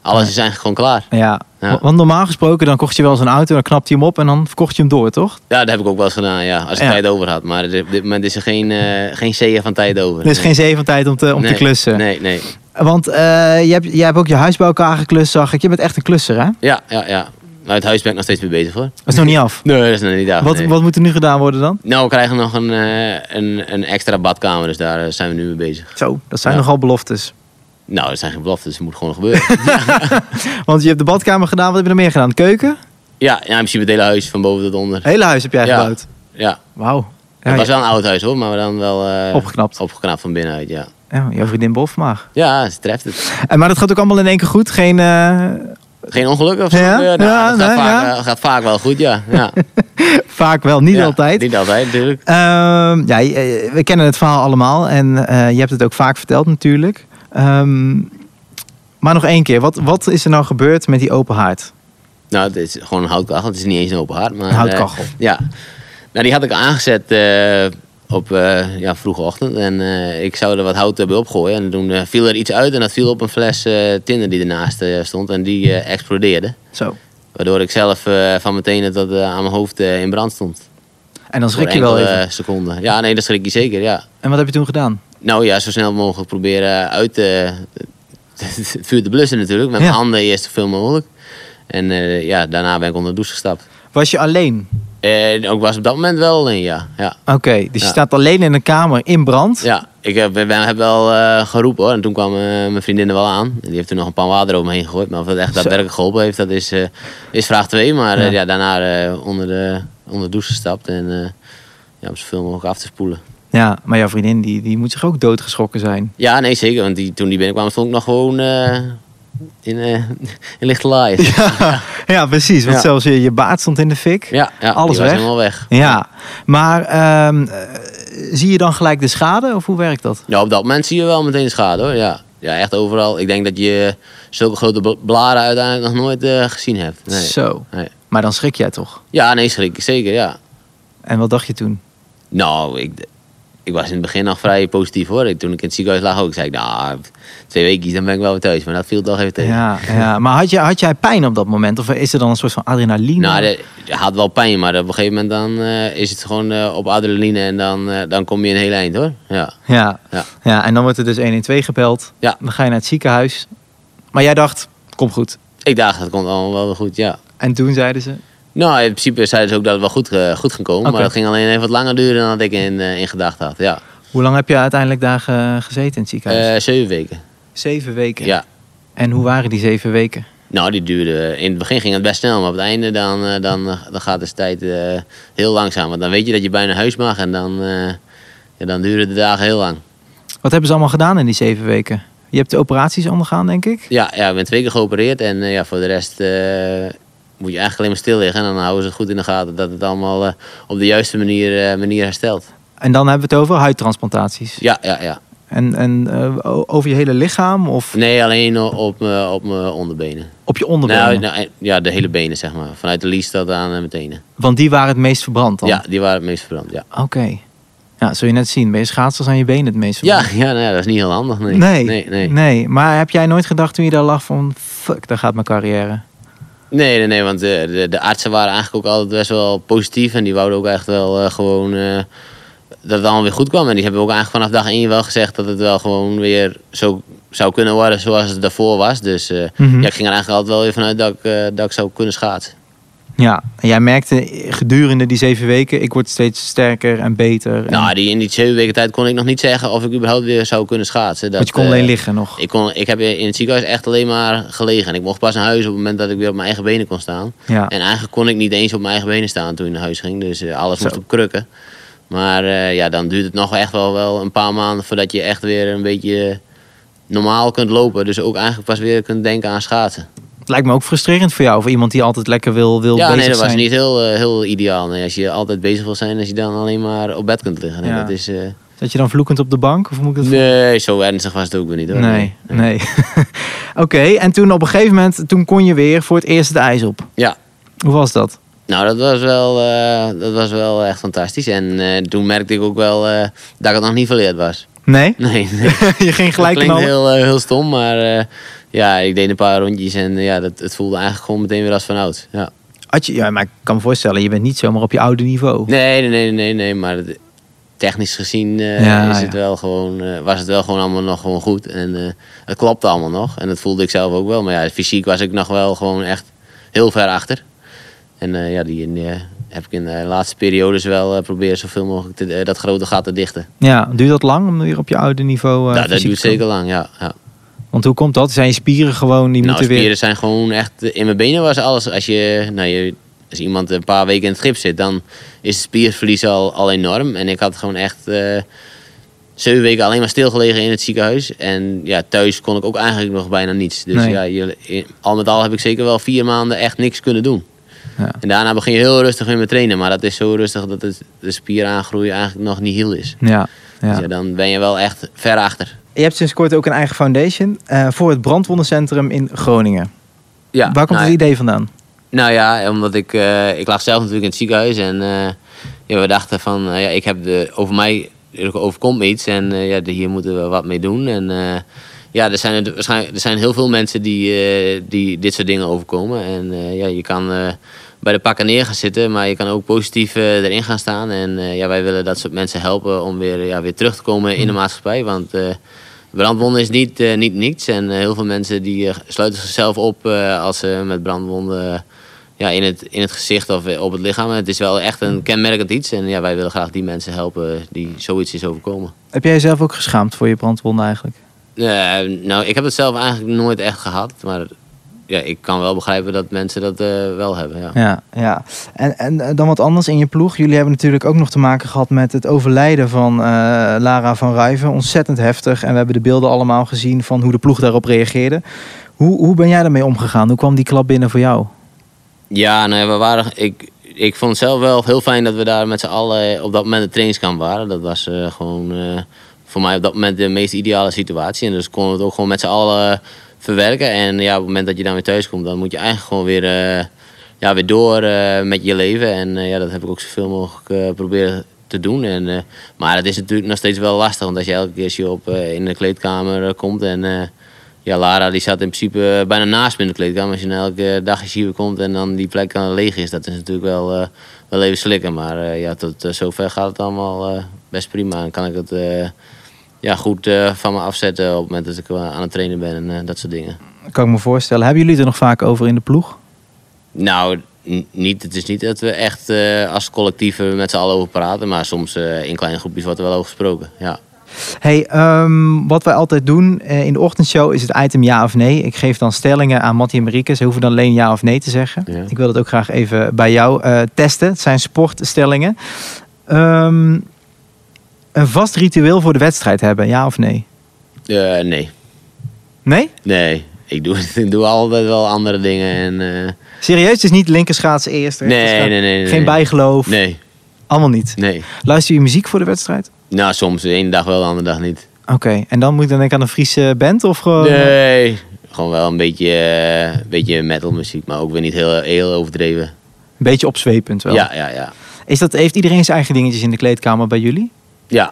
Speaker 2: alles is eigenlijk gewoon klaar.
Speaker 7: Ja.
Speaker 2: Ja.
Speaker 7: wa- want normaal gesproken dan kocht je wel zo'n auto, dan knapte je hem op en dan verkocht je hem door, toch?
Speaker 2: Ja, dat heb ik ook wel eens gedaan, ja. Als ik
Speaker 7: Ja.
Speaker 2: tijd over had. Maar op dit moment is er geen, eh geen zeeën van tijd over.
Speaker 7: Er is geen zeven tijd om te, om
Speaker 2: nee.
Speaker 7: te klussen.
Speaker 2: Nee, nee.
Speaker 7: Want eh, jij, hebt, jij hebt ook je huis bij elkaar geklust, zag ik. Je bent echt een klusser, hè?
Speaker 2: Ja, ja, ja. Maar het huis ben ik nog steeds mee bezig hoor.
Speaker 7: Dat is nog niet af.
Speaker 2: Nee, dat is nog niet af.
Speaker 7: Wat,
Speaker 2: nee.
Speaker 7: wat moet er nu gedaan worden dan?
Speaker 2: Nou, we krijgen nog een, eh, een, een extra badkamer, dus daar eh, zijn we nu mee bezig.
Speaker 7: Zo, dat zijn
Speaker 2: Ja.
Speaker 7: nogal beloftes.
Speaker 2: Nou, dat zijn geen beloftes, dus het moet gewoon gebeuren.
Speaker 7: <laughs> Want je hebt de badkamer gedaan, wat heb je nog meer gedaan? Keuken?
Speaker 2: ja, ja, in principe het hele huis van boven tot onder.
Speaker 7: Hele huis heb jij
Speaker 2: Ja.
Speaker 7: gebouwd.
Speaker 2: Ja,
Speaker 7: Wauw.
Speaker 2: het
Speaker 7: Ja,
Speaker 2: was wel een oud huis hoor, maar dan wel... eh,
Speaker 7: Opgeknapt.
Speaker 2: Opgeknapt van binnenuit, ja.
Speaker 7: ja, jouw vriendin Bofmaag.
Speaker 2: Ja, ze treft het.
Speaker 7: En Maar dat gaat ook allemaal in één keer goed. Geen, eh,
Speaker 2: Geen ongeluk of zo?
Speaker 7: Ja?
Speaker 2: Eh, nou,
Speaker 7: Ja,
Speaker 2: dat
Speaker 7: nee,
Speaker 2: gaat, vaak,
Speaker 7: ja.
Speaker 2: eh, gaat vaak wel goed,
Speaker 7: <laughs>
Speaker 2: ja. ja.
Speaker 7: vaak wel, niet
Speaker 2: Ja,
Speaker 7: altijd.
Speaker 2: Niet altijd, natuurlijk.
Speaker 7: Ehm, ja, je- eh, we kennen het verhaal allemaal. En eh, je hebt het ook vaak verteld natuurlijk. Ehm, maar nog één keer. Wat, wat is er nou gebeurd met die open haard?
Speaker 2: Nou, het is gewoon een houtkachel. Het is niet eens een open haard. Maar,
Speaker 7: Een houtkachel.
Speaker 2: eh, ja. Nou, die had ik aangezet eh, op eh, ja, vroege ochtend. En eh, ik zou er wat hout eh, bij opgooien. En toen eh, viel er iets uit en dat viel op een fles eh, tinder die ernaast eh, stond. En die eh, explodeerde.
Speaker 7: Zo.
Speaker 2: Waardoor ik zelf eh, van mijn tenen tot eh, aan mijn hoofd eh, in brand stond.
Speaker 7: En dan schrik
Speaker 2: Voor eh,
Speaker 7: je wel
Speaker 2: enkele
Speaker 7: even.
Speaker 2: seconden. Ja, nee, dat schrik je zeker, ja.
Speaker 7: En wat heb je toen gedaan?
Speaker 2: Nou ja, zo snel mogelijk proberen uit te, <laughs> het vuur te blussen natuurlijk. Met
Speaker 7: Ja.
Speaker 2: mijn handen eerst zoveel mogelijk. En eh, ja, daarna ben ik onder de douche gestapt.
Speaker 7: Was je alleen?
Speaker 2: Eh, ook was op dat moment wel alleen, ja. Ja,
Speaker 7: Oké, dus je
Speaker 2: Ja.
Speaker 7: staat alleen in een kamer in brand.
Speaker 2: ja ik heb, we hebben- hebben wel eh, geroepen hoor. En toen kwam eh, mijn vriendin er wel aan. En Die heeft toen nog een pan water over me heen gegooid. Maar of dat echt daadwerkelijk geholpen heeft, dat is, eh, is vraag 2. Maar eh,
Speaker 7: Ja.
Speaker 2: ja. daarna eh, onder, de, onder de douche gestapt. En eh, ja, om zoveel mogelijk af te spoelen.
Speaker 7: Ja, maar jouw vriendin die, die moet zich ook doodgeschrokken zijn.
Speaker 2: Ja, nee zeker. Want die, toen die binnenkwam stond ik nog gewoon eh, in, eh, <laughs> in lichte laaien. <laughs> Ja,
Speaker 7: Ja, precies. Want
Speaker 2: Ja.
Speaker 7: zelfs je, je baard stond in de fik.
Speaker 2: ja,
Speaker 7: Alles
Speaker 2: die was
Speaker 7: weg?
Speaker 2: helemaal weg.
Speaker 7: Ja, maar ehm, eh, zie je dan gelijk de schade of hoe werkt dat?
Speaker 2: Ja, Nou, op dat moment zie je wel meteen schade hoor. Ja, ja echt overal. Ik denk dat je zulke grote bl- blaren uiteindelijk nog nooit eh, gezien hebt. Nee.
Speaker 7: Zo.
Speaker 2: Nee.
Speaker 7: Maar dan schrik jij toch?
Speaker 2: Ja, nee, schrik ik zeker, ja.
Speaker 7: En wat dacht je toen?
Speaker 2: Nou, ik, ik was in het begin nog vrij positief hoor. Ik- Toen ik in het ziekenhuis lag ook, zei ik, nou, twee weken dan ben ik wel weer thuis. Maar dat viel toch even tegen.
Speaker 7: Ja, ja. maar had, je, had jij pijn op dat moment? Of is er dan een soort van adrenaline?
Speaker 2: Nou, dat- je had wel pijn, maar op een gegeven moment dan eh, is het gewoon eh, op adrenaline en dan, eh, dan kom je een heel eind hoor. Ja.
Speaker 7: ja. Ja.
Speaker 2: Ja.
Speaker 7: en dan wordt er dus 112 gebeld.
Speaker 2: Ja.
Speaker 7: Dan ga je naar het ziekenhuis. Maar jij dacht, kom goed.
Speaker 2: Ik dacht, dat komt allemaal wel weer goed, ja.
Speaker 7: En toen zeiden ze,
Speaker 2: Nou, in principe zeiden ze ook dat het wel goed, eh, goed ging komen.
Speaker 7: Oké.
Speaker 2: Maar dat ging alleen even wat langer duren dan dat ik in, eh, in gedachten had. Ja.
Speaker 7: hoe lang heb je uiteindelijk daar eh, gezeten in het ziekenhuis?
Speaker 2: Eh, zeven weken.
Speaker 7: zeven weken.
Speaker 2: Ja.
Speaker 7: En hoe waren die zeven weken?
Speaker 2: Nou, die duurde. In het begin ging het best snel, maar op het einde dan, eh, dan, eh, dan gaat de tijd eh, heel langzaam. Want dan weet je dat je bijna huis mag en dan, eh, ja, dan duren de dagen heel lang.
Speaker 7: Wat hebben ze allemaal gedaan in die zeven weken? Je hebt de operaties ondergaan, denk ik.
Speaker 2: Ja, ja, ik ben twee keer geopereerd en eh, ja, voor de rest eh, moet je eigenlijk alleen maar stil liggen. En dan houden ze het goed in de gaten dat het allemaal eh, op de juiste manier, eh, manier herstelt.
Speaker 7: En dan hebben we het over huidtransplantaties.
Speaker 2: Ja, ja, ja.
Speaker 7: En, en eh, o- over je hele lichaam of
Speaker 2: Nee, alleen op mijn op mijn onderbenen.
Speaker 7: op je onderbenen?
Speaker 2: Nou, nou, eh, ja, de hele benen zeg maar. Vanuit de lies tot aan eh, mijn tenen.
Speaker 7: Want die waren het meest verbrand dan?
Speaker 2: Ja, die waren het meest verbrand, ja.
Speaker 7: Oké. Ja, zul je net zien. Bij je schaatsers aan je benen het meest
Speaker 2: Ja,
Speaker 7: verbrand.
Speaker 2: ja, nou ja, dat is niet heel handig. Nee.
Speaker 7: Nee.
Speaker 2: Nee, nee.
Speaker 7: Maar heb jij nooit gedacht toen je daar lag van... Fuck, daar gaat mijn carrière.
Speaker 2: nee, nee, nee, want de, de, de artsen waren eigenlijk ook altijd best wel positief. En die wouden ook echt wel eh, gewoon eh, dat het allemaal weer goed kwam. En die hebben ook eigenlijk vanaf dag één wel gezegd dat het wel gewoon weer zo zou kunnen worden zoals het daarvoor was. Dus eh,
Speaker 7: Mhm.
Speaker 2: ja, ik ging er eigenlijk altijd wel weer vanuit dat ik, eh, dat ik zou kunnen schaatsen.
Speaker 7: Ja, en jij merkte gedurende die zeven weken, ik word steeds sterker en beter. En,
Speaker 2: Nou, die, in die zeven weken tijd kon ik nog niet zeggen of ik überhaupt weer zou kunnen schaatsen. Dat,
Speaker 7: want je kon
Speaker 2: eh,
Speaker 7: alleen liggen nog.
Speaker 2: Ik, kon, ik heb in het ziekenhuis echt alleen maar gelegen. En ik mocht pas naar huis op het moment dat ik weer op mijn eigen benen kon staan.
Speaker 7: ja.
Speaker 2: En eigenlijk kon ik niet eens op mijn eigen benen staan toen ik naar huis ging. Dus eh, alles moest op krukken. Maar eh, ja, dan duurt het nog echt wel, wel een paar maanden voordat je echt weer een beetje eh, normaal kunt lopen. Dus ook eigenlijk pas weer kunt denken aan schaatsen.
Speaker 7: Het lijkt me ook frustrerend voor jou, voor iemand die altijd lekker wil, wil
Speaker 2: Ja,
Speaker 7: bezig
Speaker 2: nee, dat was
Speaker 7: zijn.
Speaker 2: niet heel, eh, heel ideaal. Nee, als je altijd bezig wil zijn, als je dan alleen maar op bed kunt liggen. Nee,
Speaker 7: Ja.
Speaker 2: dat is, eh,
Speaker 7: Dat je dan vloekend op de bank, of moet ik dat
Speaker 2: nee, zo ernstig was het ook weer niet hoor.
Speaker 7: Nee, nee. <laughs> Oké, en toen op een gegeven moment, toen kon je weer voor het eerst het ijs op.
Speaker 2: Ja,
Speaker 7: Hoe was dat?
Speaker 2: Nou, dat was wel, eh, dat was wel echt fantastisch. En eh, toen merkte ik ook wel eh, dat ik het nog niet verleerd was. <laughs>
Speaker 7: Nee?
Speaker 2: Nee, nee.
Speaker 7: <laughs> je ging gelijk
Speaker 2: dat klinkt
Speaker 7: knallen?
Speaker 2: heel, eh, heel stom, maar eh, ja, ik deed een paar rondjes en eh, ja, dat, het voelde eigenlijk gewoon meteen weer als vanouds. Ja.
Speaker 7: Had je, ja, maar ik kan me voorstellen, je bent niet zomaar op je oude niveau.
Speaker 2: Nee, nee, nee, nee, nee, maar het- technisch gezien eh,
Speaker 7: Ja,
Speaker 2: is
Speaker 7: ja.
Speaker 2: het wel gewoon, eh, was het wel gewoon allemaal nog gewoon goed. En eh, het klopte allemaal nog en dat voelde ik zelf ook wel. Maar ja, fysiek was ik nog wel gewoon echt heel ver achter. En eh, ja, die, die, eh, heb ik in de laatste periodes wel eh proberen zoveel mogelijk te, eh, dat grote gat te dichten.
Speaker 7: Ja, duurt dat lang om weer op je oude niveau eh
Speaker 2: Nou, dat
Speaker 7: fysiek
Speaker 2: duurt
Speaker 7: te komen?
Speaker 2: zeker lang, ja. ja.
Speaker 7: Want hoe komt dat? Zijn je spieren gewoon, die
Speaker 2: Nou,
Speaker 7: moeten
Speaker 2: spieren
Speaker 7: weer...
Speaker 2: zijn gewoon echt... eh, In mijn benen was alles. Als, je, nou, je, als iemand een paar weken in het gips zit, dan is het spierverlies al, al enorm. En ik had gewoon echt eh, zeven weken alleen maar stilgelegen in het ziekenhuis. En ja, thuis kon ik ook eigenlijk nog bijna niets. Dus
Speaker 7: Nee.
Speaker 2: ja, je- al met al heb ik zeker wel vier maanden echt niks kunnen doen.
Speaker 7: Ja.
Speaker 2: En daarna begin je heel rustig weer met trainen. Maar dat is zo rustig dat het, de spieraangroei eigenlijk nog niet heel is.
Speaker 7: Ja, ja.
Speaker 2: Dus ja, dan ben je wel echt ver achter.
Speaker 7: Je hebt sinds kort ook een eigen foundation eh, voor het brandwondencentrum in Groningen.
Speaker 2: Ja,
Speaker 7: Waar komt
Speaker 2: nou
Speaker 7: het idee vandaan?
Speaker 2: Nou ja, omdat ik, eh, ik lag zelf natuurlijk in het ziekenhuis en eh, ja, we dachten van, eh, ja, ik heb de, over mij er overkomt me iets en eh, ja, de- hier moeten we wat mee doen. En eh, ja, er zijn, het waarschijnlijk, er zijn heel veel mensen die, eh, die dit soort dingen overkomen. En eh, ja, je kan eh, bij de pakken neer gaan zitten, maar je kan ook positief eh, erin gaan staan. En eh, ja, wij willen dat soort mensen helpen om weer, ja, weer terug te komen in de maatschappij, want... eh, Brandwonden is niet, eh, niet niets. En eh, heel veel mensen die eh, sluiten zichzelf op eh, als ze met brandwonden eh, ja, in, het, in het gezicht of eh, op het lichaam. Het is wel echt een kenmerkend iets. En ja, wij willen graag die mensen helpen die zoiets is overkomen.
Speaker 7: Heb jij jezelf ook geschaamd voor je brandwonden eigenlijk?
Speaker 2: Eh, nou, ik heb het zelf eigenlijk nooit echt gehad. Maar ja, ik kan wel begrijpen dat mensen dat eh, wel hebben. Ja.
Speaker 7: Ja, ja. En, en eh, dan wat anders in je ploeg. Jullie hebben natuurlijk ook nog te maken gehad met het overlijden van eh, Lara van Ruiven. Ontzettend heftig. En we hebben de beelden allemaal gezien van hoe de ploeg daarop reageerde. Hoe, hoe ben jij daarmee omgegaan? Hoe kwam die klap binnen voor jou?
Speaker 2: Ja, nee, we waren, ik, ik vond het zelf wel heel fijn dat we daar met z'n allen eh, op dat moment het trainingskamp waren. Dat was eh, gewoon eh, voor mij op dat moment de meest ideale situatie. En dus konden we het ook gewoon met z'n allen eh, verwerken. En ja, op het moment dat je dan weer thuis komt, dan moet je eigenlijk gewoon weer, eh, ja, weer door eh, met je leven. En eh, ja, dat heb ik ook zoveel mogelijk eh, proberen te doen. En, eh, maar het is natuurlijk nog steeds wel lastig, want als je elke keer als je op, eh, in de kleedkamer eh, komt en... eh, ja, Lara die zat in principe eh, bijna naast me in de kleedkamer. Als je nou elke dag eens hier komt en dan die plek dan leeg is, dat is natuurlijk wel, eh, wel even slikken. Maar eh, ja, tot eh, zover gaat het allemaal eh, best prima. En kan ik het eh, ja, goed eh, van me afzetten op het moment dat ik eh, aan het trainen ben en eh, dat soort dingen.
Speaker 7: Kan ik me voorstellen. Hebben jullie het er nog vaak over in de ploeg?
Speaker 2: Nou, n- niet, het is niet dat we echt eh, als collectief er met z'n allen over praten, maar soms eh, in kleine groepjes wordt er wel over gesproken. Ja.
Speaker 7: Hey, ehm, wat wij altijd doen eh, in de ochtendshow is het item ja of nee. Ik geef dan stellingen aan Mattie en Marieke. Ze hoeven dan alleen ja of nee te zeggen.
Speaker 2: Ja.
Speaker 7: Ik wil dat ook graag even bij jou eh, testen. Het zijn sportstellingen. Ehm, een vast ritueel voor de wedstrijd hebben, ja of nee?
Speaker 2: Eh, nee,
Speaker 7: Nee?
Speaker 2: nee. Ik doe, <laughs> ik doe altijd wel andere dingen. En, eh,
Speaker 7: Serieus, het is niet linkerschaatsen eerst.
Speaker 2: Nee,
Speaker 7: rechterschaats-
Speaker 2: nee, nee, nee,
Speaker 7: Geen
Speaker 2: nee.
Speaker 7: bijgeloof,
Speaker 2: nee,
Speaker 7: allemaal niet.
Speaker 2: nee.
Speaker 7: Luister je muziek voor de wedstrijd?
Speaker 2: Nou, soms de ene dag wel, de andere dag niet.
Speaker 7: Oké, en dan moet ik dan denken aan een Friese band of gewoon... eh,
Speaker 2: Nee. Gewoon wel een beetje, eh, een beetje metalmuziek, maar ook weer niet heel, heel overdreven.
Speaker 7: Een beetje opzwepend wel.
Speaker 2: Ja, ja, ja.
Speaker 7: Is dat, heeft iedereen zijn eigen dingetjes in de kleedkamer bij jullie?
Speaker 2: Ja.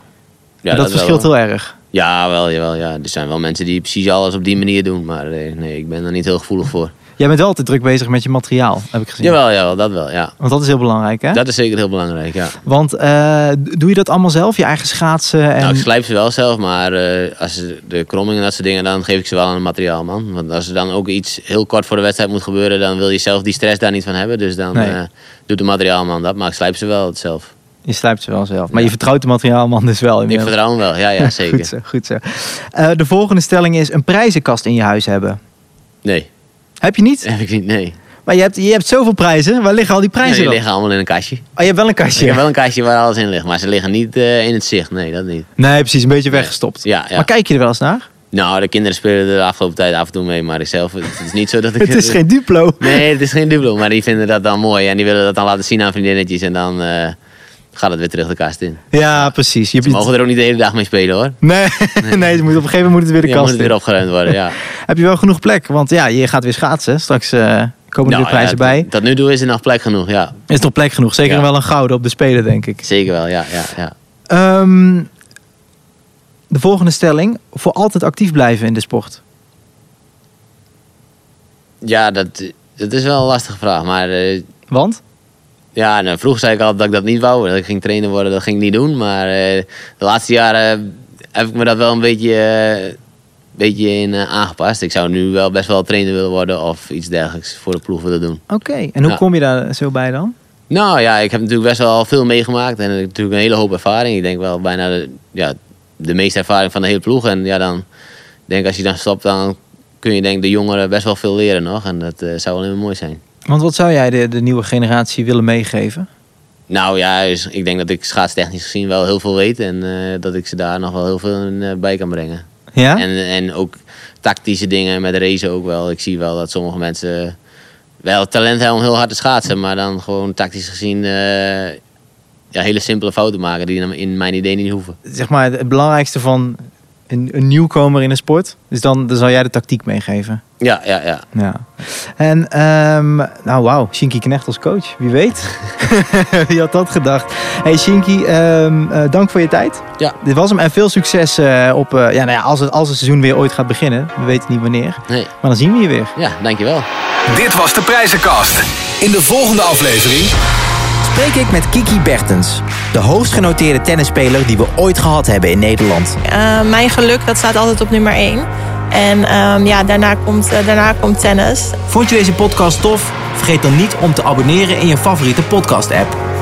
Speaker 2: ja
Speaker 7: dat,
Speaker 2: wel,
Speaker 7: verschilt
Speaker 2: hoor.
Speaker 7: heel erg.
Speaker 2: Ja, wel, jawel, ja. Er zijn wel mensen die precies alles op die manier doen, maar eh, nee, ik ben er niet heel gevoelig voor.
Speaker 7: Jij bent wel altijd druk bezig met je materiaal, heb ik gezien.
Speaker 2: Jawel, jawel, dat wel. Ja.
Speaker 7: Want dat is heel belangrijk, hè?
Speaker 2: Dat is zeker heel belangrijk. Ja.
Speaker 7: Want eh, doe je dat allemaal zelf? Je eigen schaatsen? En...
Speaker 2: Nou, ik slijp ze wel zelf, maar eh, als ze- de krommingen en dat soort dingen, dan geef ik ze wel aan het materiaalman. Want als er dan ook iets heel kort voor de wedstrijd moet gebeuren, dan wil je zelf die stress daar niet van hebben. Dus dan
Speaker 7: Nee.
Speaker 2: eh, doet de materiaalman dat, maar ik slijp ze wel het zelf.
Speaker 7: Je slijpt ze wel zelf. Maar je vertrouwt de materiaalman dus wel.
Speaker 2: Ik
Speaker 7: inmiddels.
Speaker 2: vertrouw hem wel, ja, ja zeker.
Speaker 7: <laughs> Goed zo, goed zo. Eh, de volgende stelling is een prijzenkast in je huis hebben.
Speaker 2: Nee,
Speaker 7: Heb je niet?
Speaker 2: heb ik niet, nee.
Speaker 7: Maar je hebt, je hebt zoveel prijzen. Waar liggen al die
Speaker 2: Nee,
Speaker 7: prijzen
Speaker 2: die
Speaker 7: dan?
Speaker 2: liggen allemaal in een kastje.
Speaker 7: Oh, je hebt wel een
Speaker 2: Ik
Speaker 7: kastje.
Speaker 2: heb wel een kastje waar alles in ligt, maar ze liggen niet eh, in het zicht. Nee, dat niet.
Speaker 7: Nee, precies. Een beetje weggestopt.
Speaker 2: Ja, ja.
Speaker 7: Maar kijk je er wel eens
Speaker 2: <laughs>
Speaker 7: naar?
Speaker 2: Nou, de kinderen spelen er de afgelopen tijd af en toe mee, maar ik zelf, het is niet zo dat ik...
Speaker 7: <laughs>
Speaker 2: eh,
Speaker 7: Het is geen Duplo.
Speaker 2: Nee, het is geen dublo, maar die vinden dat dan mooi. En die willen dat dan laten zien aan vriendinnetjes en dan eh, gaat het weer terug de kast in.
Speaker 7: Ja, precies. Je
Speaker 2: Ze mogen
Speaker 7: hebt...
Speaker 2: er ook niet de hele dag mee spelen hoor.
Speaker 7: Nee, <laughs> nee het moet, op een gegeven moment moet het weer de
Speaker 2: Die moet
Speaker 7: kast
Speaker 2: het
Speaker 7: in.
Speaker 2: weer opgeruimd worden,
Speaker 7: <laughs>
Speaker 2: ja.
Speaker 7: Heb je wel genoeg plek? Want ja, je gaat weer schaatsen. Straks eh, komen
Speaker 2: Nou,
Speaker 7: er weer prijzen
Speaker 2: ja,
Speaker 7: bij.
Speaker 2: Tot, tot nu toe is er nog plek genoeg, ja.
Speaker 7: Is nog plek genoeg. Zeker
Speaker 2: Ja.
Speaker 7: wel een gouden op de Spelen, denk ik.
Speaker 2: Zeker wel, ja. ja, ja.
Speaker 7: Ehm, de volgende stelling. Voor altijd actief blijven in de sport.
Speaker 2: Ja, dat, dat is wel een lastige vraag, maar... eh,
Speaker 7: Want?
Speaker 2: ja, nou, vroeger zei ik altijd dat ik dat niet wou. Dat ik ging trainen worden, dat ging ik niet doen. Maar eh, de laatste jaren eh, heb ik me dat wel een beetje, eh, beetje in eh, aangepast. Ik zou nu wel best wel trainer willen worden of iets dergelijks voor de ploeg willen doen.
Speaker 7: Oké. En hoe
Speaker 2: Ja.
Speaker 7: kom je daar zo bij dan?
Speaker 2: Nou ja, ik heb natuurlijk best wel veel meegemaakt en natuurlijk een hele hoop ervaring. Ik denk wel bijna de, ja, de meeste ervaring van de hele ploeg. En ja, dan ik denk als je dan stopt, dan kun je denk ik de jongeren best wel veel leren nog. En dat eh, zou alleen maar mooi zijn.
Speaker 7: Want wat zou jij de, de nieuwe generatie willen meegeven?
Speaker 2: Nou ja, dus ik denk dat ik schaatstechnisch gezien wel heel veel weet. En eh, dat ik ze daar nog wel heel veel in, eh, bij kan brengen.
Speaker 7: Ja?
Speaker 2: En, en ook tactische dingen met racen ook wel. Ik zie wel dat sommige mensen wel talent hebben om heel hard te schaatsen, maar dan gewoon tactisch gezien eh, ja, hele simpele fouten maken die dan in mijn idee niet hoeven.
Speaker 7: Zeg maar, het belangrijkste van een, een nieuwkomer in de sport. Dus dan, dan zal jij de tactiek meegeven.
Speaker 2: Ja, ja, ja.
Speaker 7: Ja. En, ehm, nou wauw, Shinky Knecht als coach. Wie weet. <laughs> Wie had dat gedacht? Hey Shinky, ehm, eh, dank voor je tijd.
Speaker 2: Ja.
Speaker 7: Dit was hem. En veel succes eh, op, eh, ja, nou ja, als, het, als het seizoen weer ooit gaat beginnen. We weten niet wanneer.
Speaker 2: Nee.
Speaker 7: Maar dan zien we je weer.
Speaker 2: Ja, dankjewel.
Speaker 4: Dit was de prijzenkast.
Speaker 5: In de volgende aflevering.
Speaker 6: Spreek ik met Kiki Bertens, de hoogst genoteerde tennisspeler die we ooit gehad hebben in Nederland.
Speaker 8: Eh, mijn geluk, dat staat altijd op nummer 1. En ehm, ja, daarna komt, eh, daarna komt tennis.
Speaker 6: Vond je deze podcast tof? Vergeet dan niet om te abonneren in je favoriete podcast-app.